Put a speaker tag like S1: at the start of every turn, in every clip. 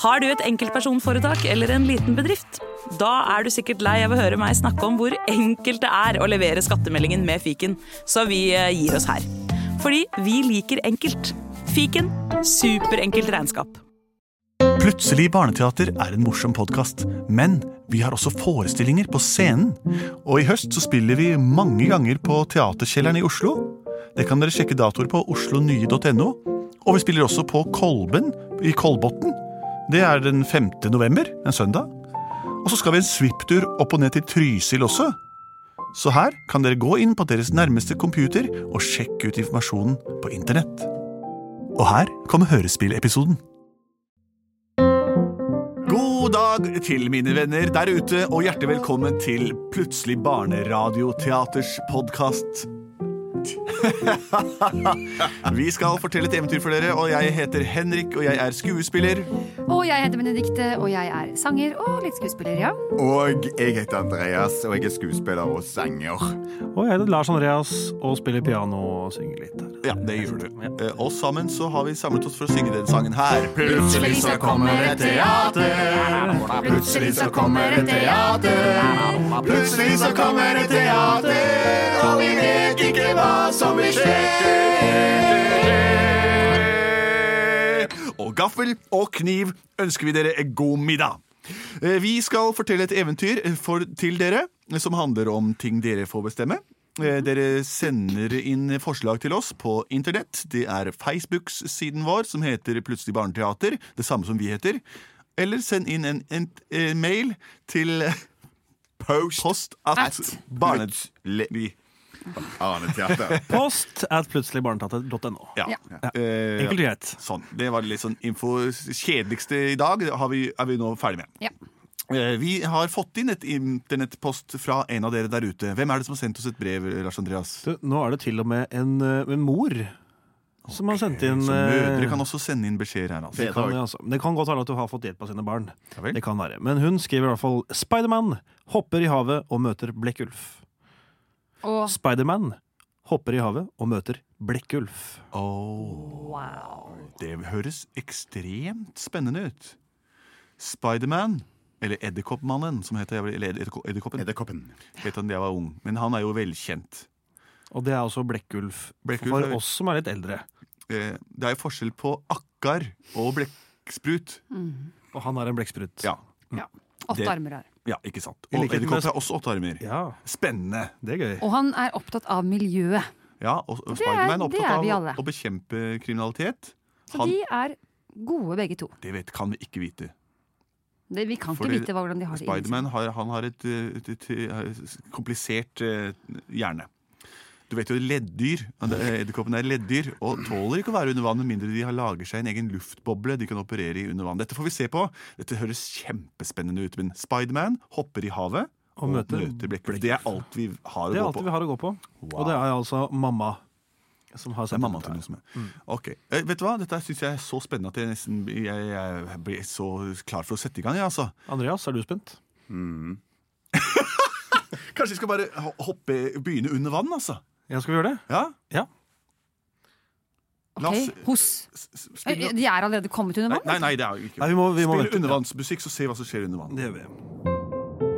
S1: Har du et enkeltpersonforetak eller en liten bedrift? Da er du sikkert lei av å høre meg snakke om hvor enkelt det er å levere skattemeldingen med fiken, så vi eh, gir oss her. Fordi vi liker enkelt. Fiken superenkelt regnskap.
S2: Plutselig barneteater er en morsom podkast, men vi har også forestillinger på scenen. Og i høst så spiller vi mange ganger på Teaterkjelleren i Oslo. Det kan dere sjekke datoer på oslonye.no. Og vi spiller også på Kolben i Kolbotn. Det er den 5. november, en søndag. Og så skal vi en svipptur opp og ned til Trysil også. Så her kan dere gå inn på deres nærmeste computer og sjekke ut informasjonen på internett. Og her kommer hørespillepisoden. God dag til mine venner der ute, og hjertelig velkommen til Plutselig barneradioteaters podkast. Vi skal fortelle et eventyr for dere, og jeg heter Henrik, og jeg er skuespiller.
S3: Og jeg heter Benedikte, og jeg er sanger og litt skuespiller, ja.
S4: Og jeg heter Andreas, og jeg er skuespiller og sanger.
S5: Og jeg heter Lars Andreas og spiller piano og synger litt her.
S2: Ja, det gjør du. Eh, Og sammen så har vi samlet oss for å synge denne sangen her.
S4: Plutselig så kommer et teater. Plutselig så kommer et teater. Plutselig så kommer et teater, og vi vet ikke hva som vil skje.
S2: Og gaffel og kniv ønsker vi dere en god middag. Eh, Vi skal fortelle et eventyr eh, for, til dere som handler om ting dere får bestemme. Eh, Dere sender inn forslag til oss på internett. Det er Facebook-siden vår som heter Plutselig barneteater. Det samme som vi heter. Eller send inn en, en, eh, mail til eh,
S4: Post
S2: post at
S3: At.
S2: barnet...
S4: Arne Teater.
S5: Post at plutseligbarnetatter.no.
S2: Ja.
S3: Ja.
S2: Eh,
S5: Enkelt og greit.
S2: Sånn. Det var litt sånn info kjedeligste i dag. Har vi, er vi nå ferdig med.
S3: ja.
S2: Eh, Vi har fått inn et internettpost fra en av dere der ute. Hvem er det som har sendt oss et brev, Lars Andreas?
S5: Du, nå er det til og med en, eh, en mor som har sendt inn
S2: Så
S5: eh,
S2: mødre kan også sende inn beskjeder her. Altså.
S5: det kan, altså. Det kan godt være at du har fått hjelp av sine barn.
S2: Ja vel.
S5: Det kan være. Men hun skriver i hvert fall 'Spiderman hopper i havet og møter Blekkulf'.
S3: Og
S5: Spiderman hopper i havet og møter Blekkulf.
S2: Åh,
S3: wow.
S2: det høres ekstremt spennende ut. Spiderman, eller Edderkoppmannen, som heter jeg vel- eller Edderko- Edderkoppen,
S4: Edderkoppen.
S2: het han da jeg var ung. Men han er jo velkjent.
S5: Og det er også Blekkulf
S2: Blekkulf
S5: for
S2: er-
S5: oss som er litt eldre.
S2: Eh, Det er jo forskjell på akkar og blekksprut.
S5: Og han er en blekksprut.
S2: Ja,
S3: Ja. Åtte
S2: Det-
S3: armer her.
S2: ja, ikke sant.
S5: I
S2: Og
S5: likhet med-
S2: edderkopp har også åtte armer.
S5: Ja,
S2: Spennende.
S5: det er gøy.
S3: Og han er opptatt av miljøet.
S2: Ja, og, og
S3: Det er-
S2: Spiderman er
S3: det
S2: opptatt
S3: er vi
S2: av
S3: alle.
S2: å- å bekjempe kriminalitet.
S3: Så
S2: Han,
S3: de er gode begge to.
S2: det vet, kan vi ikke vite.
S3: Det, vi kan
S2: Fordi
S3: ikke vite hvordan de har det inni seg.
S2: Spiderman har, han har et, eh, et, et, eh, komplisert eh, hjerne. Du vet jo leddyr. eh, Edderkoppen er leddyr og tåler ikke å være under vann med mindre de har lager seg en egen luftboble de kan operere i under vann. Dette får vi se på. Dette høres kjempespennende ut. Men Spiderman hopper i havet
S5: Og møter
S2: Blekkulf. Det er alt vi har å
S5: Det er
S2: gå
S5: alt
S2: på.
S5: vi har å gå på. Og det er altså mamma som har
S2: Det er
S5: sendt
S2: mammaen
S5: dette
S2: til
S5: her.
S2: noe som er. Ok, eh, Vet du hva? Dette syns jeg er så spennende at jeg nesten jeg, jeg blir så klar for å sette i gang. Jeg, altså.
S5: Andreas, er du spent?
S2: Kanskje vi skal bare ho- hoppe, begynne under vann, altså?
S5: Ja, skal vi gjøre det?
S2: Ja?
S5: Ja.
S3: Ok,
S2: La oss-
S3: Hos.
S2: S- s-
S3: Eh,
S2: Spille
S3: De er allerede kommet under
S2: Nei,
S3: vann?
S2: nei, nei, det er jo ikke
S5: Nei, vi må, vi må
S2: Spill
S5: vente.
S2: undervannsmusikk, så se hva som skjer under vann.
S5: Det gjør vi.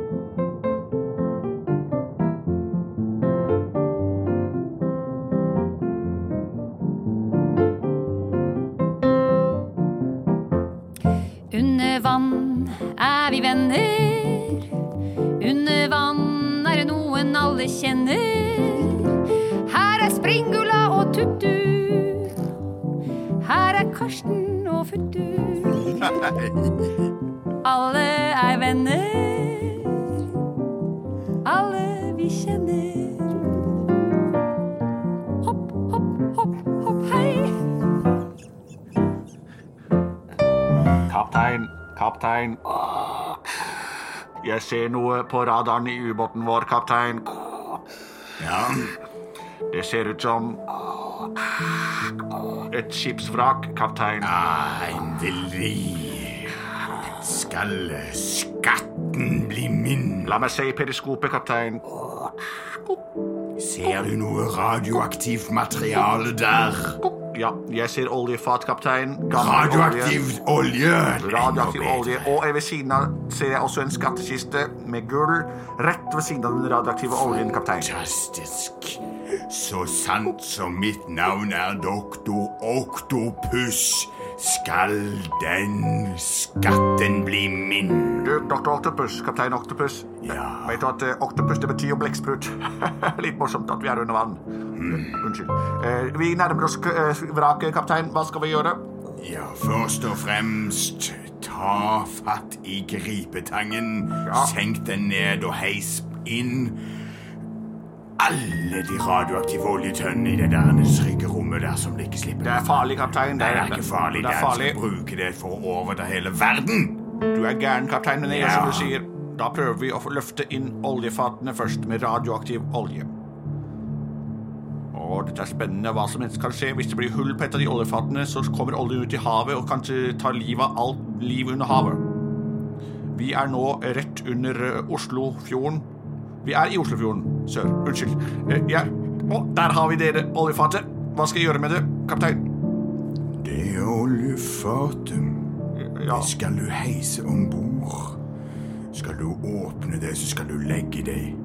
S3: Under vann er vi venner. Under vann er det noen alle kjenner. Her er Springula og Tuttu. Her er Karsten og Futtu. Alle er venner. Alle vi kjenner. Hopp, hopp, hopp, hopp, hei.
S6: Kaptein, kaptein. Jeg ser noe på radaren i ubåten vår, kaptein.
S4: Ja.
S6: Det ser ut som et skipsvrak, kaptein.
S4: Endelig skal skatten bli min.
S6: La meg se i periskopet, kaptein.
S4: Ser du noe radioaktivt materiale der?
S6: Ja, jeg ser oljefat, kaptein. Gammel
S4: Radioaktiv
S6: olje.
S4: olje.
S6: Radioaktiv olje. Og ved siden av ser jeg også en skattkiste med gull rett ved siden av den radioaktive oljen, kaptein.
S4: Fantastisk. Så sant som mitt navn er doktor Oktopus, skal den skatten bli min.
S6: Du, doktor Octopus, kaptein Octopus.
S4: Ja.
S6: Vet du at eh, octopus det betyr jo blekksprut? Litt morsomt at vi er under vann.
S4: Hmm.
S6: Unnskyld. Eh, vi nærmer oss eh, vraket, kaptein. Hva skal vi gjøre?
S4: Ja, først og fremst ta fatt i gripetangen.
S6: Ja.
S4: Senk den ned og heis inn alle de radioaktive oljetønnene i det der ryggerommet der som det ikke slipper.
S6: Det er farlig, kaptein.
S4: Nei, det er ikke farlig.
S6: Det er
S4: skal
S6: farlig.
S4: bruke det for å overta hele verden.
S6: Du er gæren, kaptein, men jeg gjør
S4: Ja.
S6: som du sier. Da prøver vi å få løfte inn oljefatene først med radioaktiv olje. Og dette er spennende. Hva som helst kan skje. Hvis det blir hull på et av de oljefatene, så kommer oljen ut i havet og kanskje tar livet av alt liv under havet. Vi er nå rett under eh, Oslofjorden. Vi er i Oslofjorden sør. Unnskyld. Eh, Ja. Å, der har vi dere, oljefatet. Hva skal jeg gjøre med det, kaptein?
S4: Det oljefatet
S6: Ja.
S4: det skal du heise om bord. Skal du åpne det, så skal du legge deg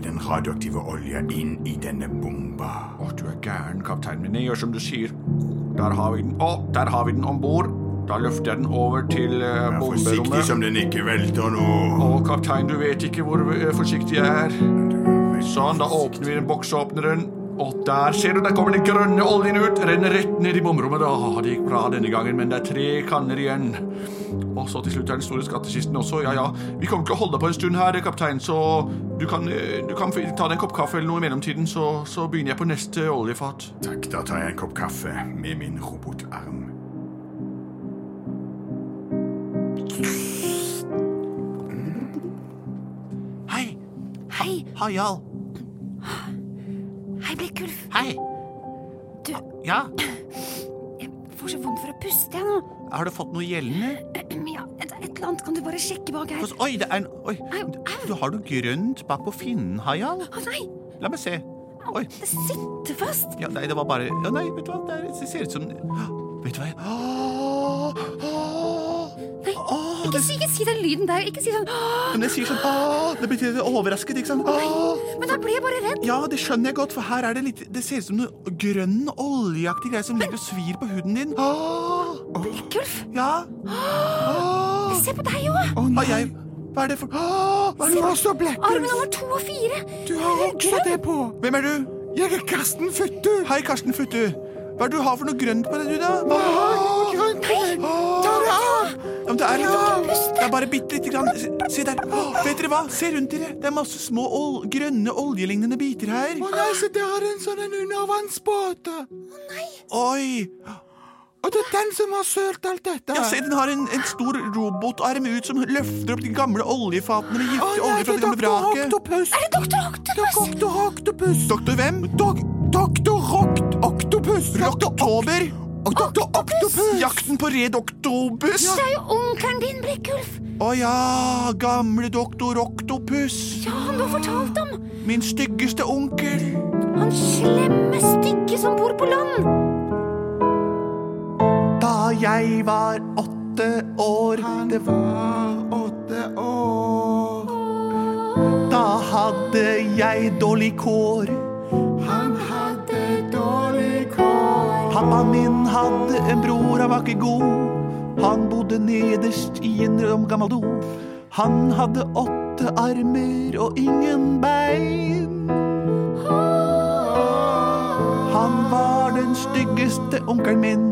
S4: den radioaktive olja inn i denne bomba.
S6: Å, du er gæren, kaptein min. Jeg gjør som du sier. Der har vi den. Å, der har vi den om bord. Da løfter jeg den over til eh,
S4: Vær forsiktig
S6: bomberommet.
S4: som den ikke velter nå.
S6: Å, kaptein, du vet ikke hvor eh, forsiktig jeg er. Sånn, da åpner vi den boksåpneren. Og der ser du, der kommer den grønne oljen ut. Renner rett ned i bomrommet. Å, det gikk bra denne gangen, men det er tre kanner igjen. Og så til slutt er den store skattkisten også. Ja, ja. Vi kommer til å holde på en stund her, kaptein, så du kan, eh, du kan ta deg en kopp kaffe eller noe i mellomtiden, så, så begynner jeg på neste oljefat.
S4: Takk, da tar jeg en kopp kaffe med min robotarm.
S2: Hei,
S3: Hei,
S2: Harald.
S3: hei Blekkulf.
S2: Hei.
S3: Du-
S2: Ja,
S3: Jeg får så vondt for å puste, jeg nå.
S2: har du fått noe gjeldende?
S3: Men ja, et, et eller annet kan du bare sjekke bak her.
S2: Hos- Oi, det er en Oi,
S3: Au,
S2: du
S3: au.
S2: har noe grønt bak på finnen, Harald.
S3: Å nei,
S2: La meg se. Oi.
S3: det sitter fast.
S2: Ja, nei, det var bare Å nei, vet du hva, det, er, det ser ut som Åh, Vet du hva jeg Åh, åh.
S3: Nei,
S2: Åh,
S3: ikke
S2: det-
S3: si, ikke si den lyden der. Ikke si sånn «Åh!»
S2: Men det sier sånn Åh, Det betyr overrasket, ikke sant? Åh.
S3: Men da ble jeg bare redd.
S2: Ja, det skjønner jeg godt, for her er det litt Det ser ut som noe grønn oljeaktig greie som ligger og svir på huden din. Åh.
S3: Blekkulf,
S2: Ja. Åh.
S3: se på deg òg.
S2: Å nei. Jeg, hva er det for Åh, hva er det for
S4: Også blekk.
S3: Armen nummer to og fire.
S2: Du har også det på. Hvem er du? Jeg er Karsten Futtu. Hei, Karsten Futtu. Hva er det du har for noe grønt på deg, du, da? Hva har du grønt på deg? Ta det av! Ja, men det er litt... Det er bare bitte lite grann. Se, se der. Å, vet dere hva? Se rundt dere. Det er masse små ol grønne oljelignende biter her. Å nei, se der er en sånn undervannsbåt. Å nei. Oi. Og det er den som har sølt alt dette. Ja, se, den har en, en stor robotarm ut som løfter opp de gamle oljefatene med giftig olje fra det gamle vraket.
S3: Er det doktor Octopus?
S2: Doktor Oktopus. Doktor hvem? doktor Rokt Oktopus. Oktober. Doktor Oktopus. Jakten på red oktobus.
S3: Det er jo onkelen din, Blekkulf.
S2: Å ja, gamle doktor Oktopus.
S3: Ja, han du har fortalt om.
S2: Min styggeste onkel.
S3: Han slemme, stygge som bor på land.
S2: Da jeg var åtte år Han var åtte år Da hadde jeg dårlig kår Han hadde dårlig kår Pappaen min hadde en bror, han var ikke god Han bodde nederst i en rom gammel do Han hadde åtte armer og ingen bein Han var den styggeste onkelen min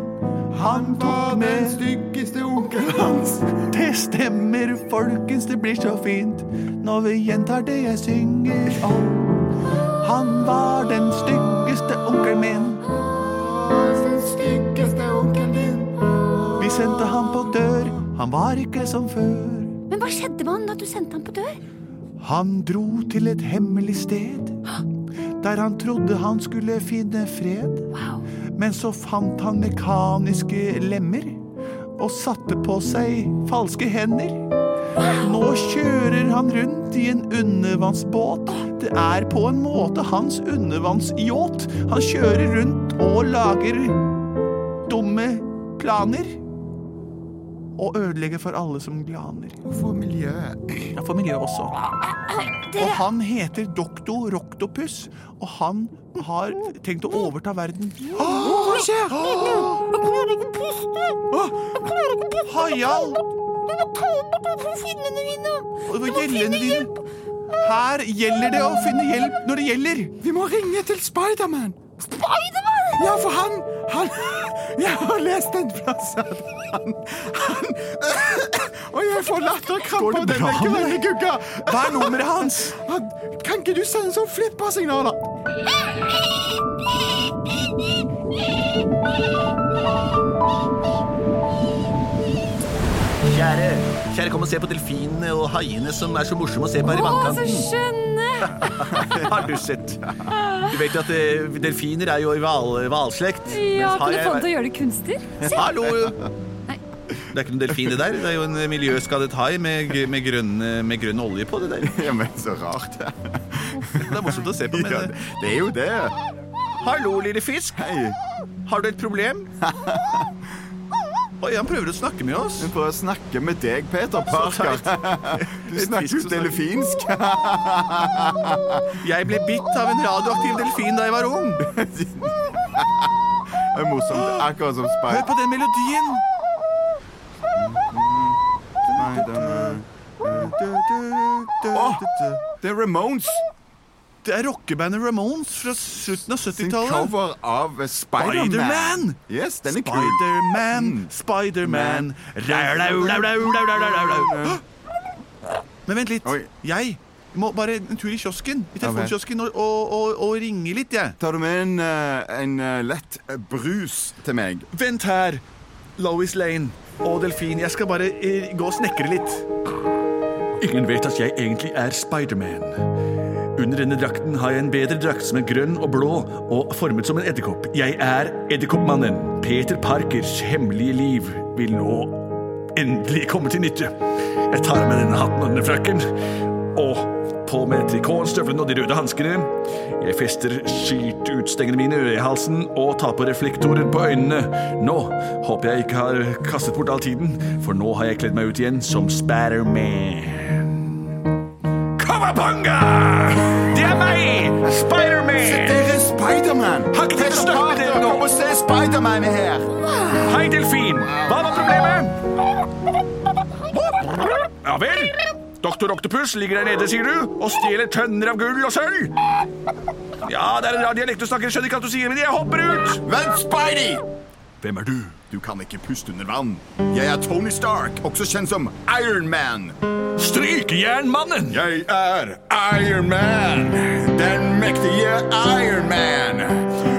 S2: han tok med
S4: styggeste onkelen hans.
S2: Det stemmer, folkens, det blir så fint når vi gjentar det jeg synger om. Han var den styggeste onkelen min. Vi sendte han på dør, han var ikke som før.
S3: Men hva skjedde med han da du sendte han på dør?
S2: Han dro til et hemmelig sted, der han trodde han skulle finne fred.
S3: Wow.
S2: Men så fant han mekaniske lemmer og satte på seg falske hender. Nå kjører han rundt i en undervannsbåt. Det er på en måte hans undervannsyacht. Han kjører rundt og lager glaner. Og ødelegge for alle som glaner.
S4: Og for miljøet.
S2: Ja, for miljøet også. Og
S7: Dere,
S2: han heter Dokto Roktopus, og han har tenkt å overta verden.
S4: Hva skjer?
S2: Hayal! Og gjellene dine. Her gjelder det å finne hjelp når det gjelder.
S4: Vi må ringe til Spiderman. Spiderman? Ja, for han, han Jeg har lest en plass at han, han Og jeg får latterkrampe
S2: Går det
S4: av denne
S2: bra med
S4: grønne gugga.
S2: Hva er nummeret hans?
S4: Han, kan ikke du sende sånn flippersignaler?
S8: Kjære, kjære, kom og se på delfinene og haiene som er så morsomme å se på her i
S3: Å, så
S2: Mm.
S8: vannkanten.
S3: skjønne!
S8: Har du sett? Du vet jo at eh, delfiner er jo i hval- hvalslekt.
S3: Ja,
S8: mens
S3: kunne
S8: hai er-
S3: få han til å gjøre det kunstig.
S8: Hallo! Det er ikke noen delfin, det der. Det er jo en eh, miljøskadet hai med, gr- med, grønn, eh, med grønn olje på det der.
S4: Ja, men så rart.
S8: Det er morsomt å se på. Men...
S4: Ja,
S8: eh,
S4: det er jo det.
S8: Hallo, lille fisk.
S4: Hei.
S8: Har du et problem? Oi, han prøver å snakke med oss.
S4: Vi prøver å snakke med deg, Peter Parker. Du snakker jo delfinsk.
S8: Jeg ble bitt av en radioaktiv delfin da jeg var ung.
S4: Det er morsomt. Akkurat som
S2: Hør
S4: Spider...
S2: på den melodien.
S4: Nei, den er- Åh, Det er Ramones
S2: Det er rockebandet Ramones fra slutten av
S4: sin
S2: 70-tallet.
S4: cover av Spider-Man.
S2: Spider-Man!
S4: Yes, den er kul.
S2: Spider-Man, Spider-Man Rau, rau, rau, rau, rau, rau, rau, rau, rau. Men vent litt.
S4: Oi.
S2: Jeg må bare en tur i kiosken I
S4: Ja vel.
S2: telefonkiosken og, og, og, og ringe litt, jeg.
S4: Tar du med en, eh, en eh, lett eh, brus til meg?
S2: Vent her, Lois Lane og delfin. Jeg skal bare eh, gå og snekre litt.
S6: Ingen vet at jeg egentlig er Spiderman. Under denne drakten har jeg en bedre drakt som er grønn og blå og formet som en edderkopp. Jeg er Edderkoppmannen. Peter Parkers hemmelige liv vil nå endelig komme til nytte. Jeg tar av meg denne hatten og denne frakken, og på med trikoten, støvlene og de røde hanskene. Jeg fester skyrt utstengene mine i halsen og tar på reflektorer på øynene. Nå håper jeg ikke har kastet bort all tiden, for nå har jeg kledd meg ut igjen som Spiderman. Kawabanga! Det er meg! Spiderman!
S4: Dere er Spider-Man!
S6: Har ikke dere
S4: Peter
S6: snakket med
S4: Parker,
S6: dere nå?
S4: Kom og se Spider-Man er her!
S6: Hei, delfin! Hva var problemet? Ja vel? Doktor Oktopus ligger der nede, sier du, og stjeler tønner av gull og sølv. Ja, det er en rar dialekt du snakker, jeg skjønner ikke hva du sier, men jeg hopper ut.
S4: Vent, Spidey!
S6: Hvem er du?
S4: Du kan ikke puste under vann. Jeg er Tony Stark, også kjent som Iron Man.
S6: Strykejernmannen!
S4: Jeg er Iron Man, den mektige Iron Man.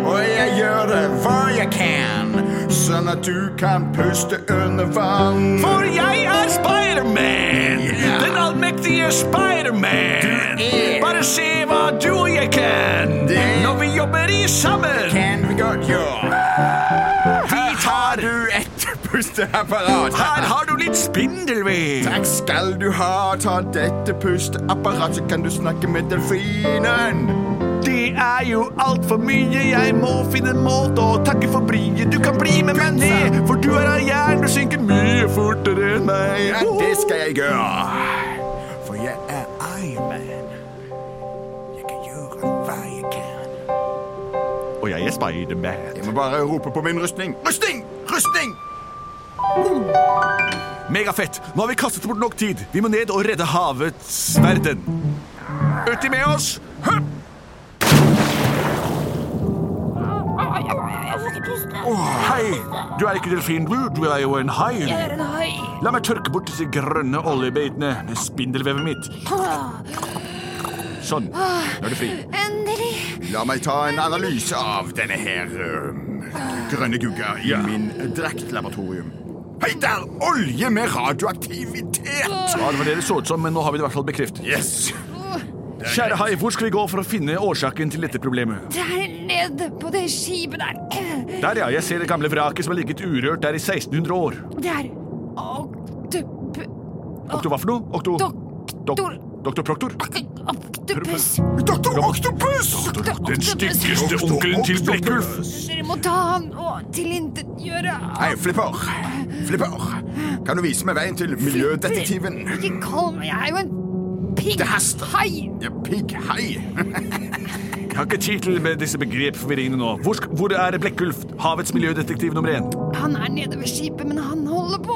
S4: Og jeg gjør det hva jeg kan, sånn at du kan puste under vann.
S6: For jeg er Spiderman! Den allmektige Spiderman!
S4: er-
S6: Bare se hva du og jeg kan
S4: Det-
S6: når vi jobber i sammen.
S4: Can we got you? Her har du et pusteapparat.
S6: Her har du litt spindelvev.
S4: Takk skal du ha. Ta dette pusteapparatet, kan du snakke med delfinen.
S6: Det er jo altfor mye, jeg må finne en måte å takke for bryet. Du kan bli med meg ned, for du er av jern, du synker mye fortere enn meg.
S4: Ja, det skal jeg gjøre. For jeg er Iron Man. Jeg kan gjøre hva jeg kan.
S6: Og jeg er Spiderman.
S4: Jeg må bare rope på min rustning. Rustning! Rustning!
S6: Megafett. Nå har vi kastet bort nok tid. Vi må ned og redde havets verden. Uti med oss. Høpp! Hei, du er ikke delfinblu, du er jo en hai. La meg tørke bort disse grønne oljebeitene med spindelvevet mitt. Sånn, nå er du fri.
S7: endelig.
S4: La meg ta en analyse av denne her øhm, grønne gugga i min draktlaboratorium. Hei der! Olje med radioaktivitet!
S6: Ja, det var det det så ut som, men nå har vi det i hvert fall bekreftet.
S4: Yes!
S6: Kjære hai, hvor skal vi gå for å finne årsaken til dette problemet?
S3: Der nede på det skipet der.
S6: Der, ja. Jeg ser det gamle vraket som har ligget urørt der i 1600 år.
S3: Der. Og du
S6: Okto hva for noe? Okto...
S3: Doktor
S6: Doktor Proktor.
S7: Oktopus!
S6: Doktor Oktopus! Den styggeste onkelen til Blekkulf.
S3: Dere må ta han og tilintetgjøre han.
S4: Hei, Flipper. Flipper, kan du vise meg veien til miljødetektiven?
S3: Ikke kall meg Jeg er jo en pigg.
S4: Det haster.
S3: Hei!
S4: Ja, pigg, hei.
S6: Jeg har ikke tid til med disse begrepsforvirringene nå. Hvor, sk- hvor er Blekkulf, havets miljødetektiv nummer én?
S3: Han er nede ved skipet, men han holder på.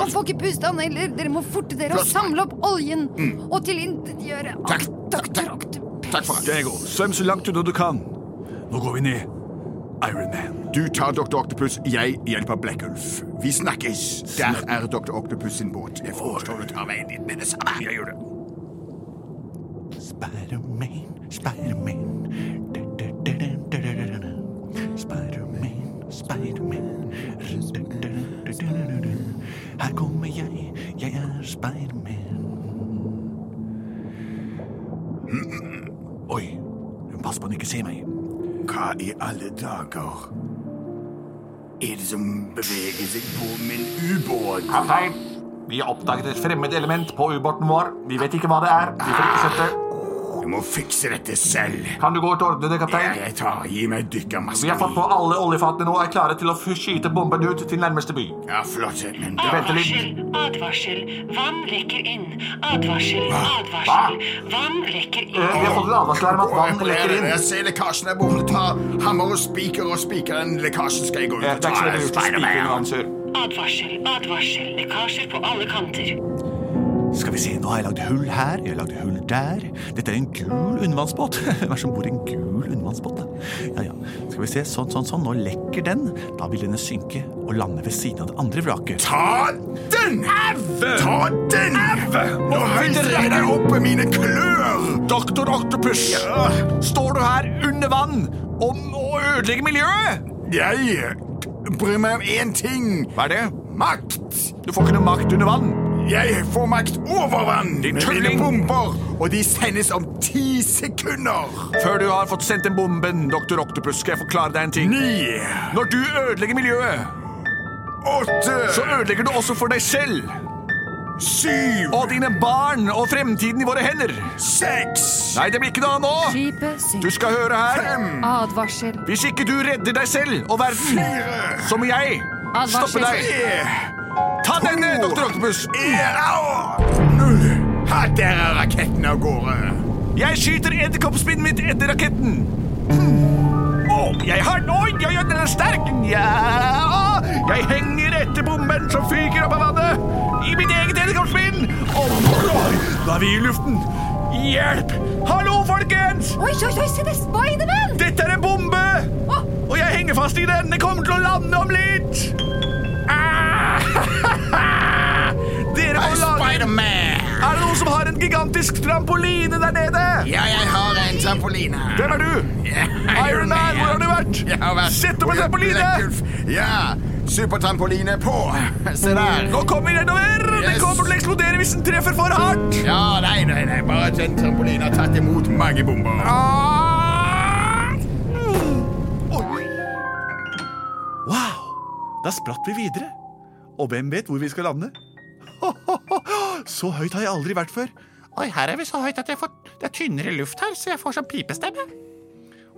S3: Han får ikke puste, han heller. Dere må forte dere og
S4: Flott. Mm.
S3: samle opp oljen og tilintetgjøre
S4: Takk, takk,
S3: Dr.
S4: takk.
S3: Oktopus.
S4: Takk for det.
S6: Jeg går. Svøm så langt unna du kan. Nå går vi ned. Iron Man.
S4: Du tar Dr. Octopus, jeg hjelper Blekkulf. Vi snakkes. Der er Dr. Octopus sin båt. Jeg forstår du tar veien dit med det samme. Jeg gjør det.
S9: Spider-Man, Spider-Man. Da-da-da-da-da-da-da-da. Spider-Man, Spider-Man. Da-da-da-da-da-da-da. Her kommer jeg, jeg er Spider-Man.
S2: Oi, pass på han ikke ser meg.
S4: Hva i alle dager er det som beveger seg på min ubåt?
S6: Kaptein, vi har oppdaget et fremmed element på ubåten vår. Vi vet ikke hva det er. Vi får ikke sett det.
S4: Jeg må fikse dette selv.
S6: Kan du gå og ordne det,
S4: Jeg,
S6: kaptein?
S4: jeg tar, Gi meg dykkermasken.
S6: Vi har fått på alle oljefatene nå og er klare til å f- skyte bomben ut til nærmeste by.
S4: Ja, flott. Men da
S6: Vent litt.
S10: Advarsel, advarsel. Vann lekker inn. Advarsel, advarsel. Vann lekker
S6: Eh, Vi
S10: inn.
S6: har fått en advarsel her om at vann lekker inn.
S4: Jeg ser lekkasjen der borte. Ta hammer og spiker og spiker den lekkasjen. Skal jeg gå ut
S6: Eh,
S4: og
S6: Det
S4: ta
S6: er ikke så veldig
S4: den?
S6: lurt å spike
S4: Spider-Man.
S6: under vann, sør.
S10: Advarsel, advarsel. Lekkasjer på alle kanter.
S2: Skal vi se, nå har jeg lagd hull her, jeg har lagd hull der. Dette er en gul undervannsbåt. Hvem er det som bor i en gul undervannsbåt, da? Ja, ja. Skal vi se, sånn, sånn, sånn. Nå lekker den. Da vil denne synke og lande ved siden av det andre vraket.
S4: Ta den! Ta den! Nå høyder jeg deg opp med mine klør!
S6: Doktor Octopus, står du her under vann om å ødelegge miljøet?
S4: Jeg bryr meg om én ting.
S6: Hva er det?
S4: Makt!
S6: Du får ikke noe makt under vann.
S4: Jeg får makt over vann
S6: Din
S4: med mine
S6: tulling.
S4: bomber, og de sendes om ti sekunder.
S6: Før du har fått sendt en bomben, Doktor Octopus, skal jeg forklare deg en ting.
S4: Ni,
S6: Når du ødelegger miljøet, så
S4: åtte,
S6: ødelegger du også for deg selv
S4: syv,
S6: og dine barn og fremtiden i våre hender.
S4: seks,
S6: Nei, det blir ikke noe av nå.
S3: Skipet
S6: Du
S3: synker.
S6: skal høre her.
S4: fem,
S3: Advarsel.
S6: Hvis ikke du redder deg selv og verden, så må jeg stoppe deg.
S4: tre,
S6: Ta denne, Doktor Octopus.
S4: en, au! null. Her der er raketten av gårde.
S6: Jeg skyter edderkoppspinnet mitt etter raketten. Hmm. Å, jeg har den! Oi, oi, oi, den er sterk! Ja. Ah, Jeg henger etter bomben som fyker opp av vannet. I mitt eget edderkoppspinn. Å, oi, Da er vi i luften. Hjelp! Hallo, folkens!
S3: Oi, oi, oi, se det er Spiderman!
S6: Dette er en bombe!
S3: Å,
S6: Og jeg henger fast i den. Den kommer til å lande om litt. Ah! Dere må lage
S4: Spider-Man!
S6: Er det noen som har en gigantisk trampoline der nede?
S4: Ja, jeg har en trampoline.
S6: Hvem er du? Iron Man, hvor har du vært?
S4: Jeg har vært
S6: Sett opp en trampoline!
S4: Ja, supertrampoline på. Se der.
S6: Nå kommer den nedover! Den
S4: Yes.
S6: kommer til å eksplodere hvis den treffer for hardt!
S4: Ja, nei, nei, nei. Bare at den trampolinen har tatt imot mange bomber.
S6: Ah!
S2: Wow! Da spratt vi videre. Og hvem vet hvor vi skal lande? Så høyt har jeg aldri vært før.
S9: Oi, her er vi så høyt at jeg får, det er tynnere luft her, så jeg får sånn pipestemme.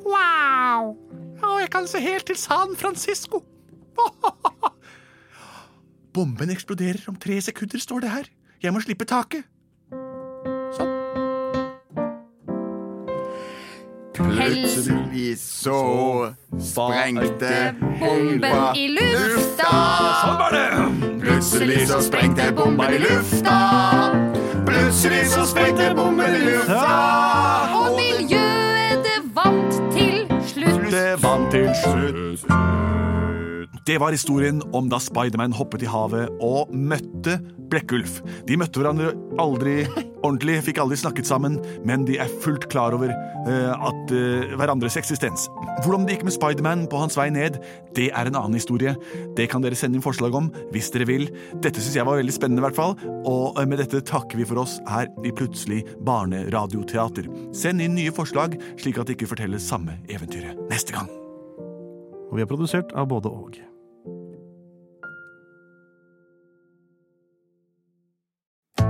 S9: Wow! Og jeg kan se helt til San Francisco.
S2: Bomben eksploderer om tre sekunder, står det her. Jeg må slippe taket.
S9: Sånn.
S4: Plutselig så sprengte
S3: Bomben i lufta!
S6: Sånn var det!
S4: Plutselig så sprengte bomben i lufta. Plutselig så sprengte bomben i lufta.
S3: Og miljøet det vant til slutt.
S2: Det var historien om da Spiderman hoppet i havet og møtte Blekkulf. De møtte hverandre aldri ordentlig, fikk aldri snakket sammen, men de er fullt klar over eh, at, eh, hverandres eksistens. Hvordan det gikk med Spiderman på hans vei ned, det er en annen historie. Det kan dere sende inn forslag om hvis dere vil. Dette syns jeg var veldig spennende, i hvert fall, og eh, med dette takker vi for oss her i Plutselig barneradioteater. Send inn nye forslag, slik at det ikke fortelles samme eventyret neste gang.
S5: Og vi er produsert av både og.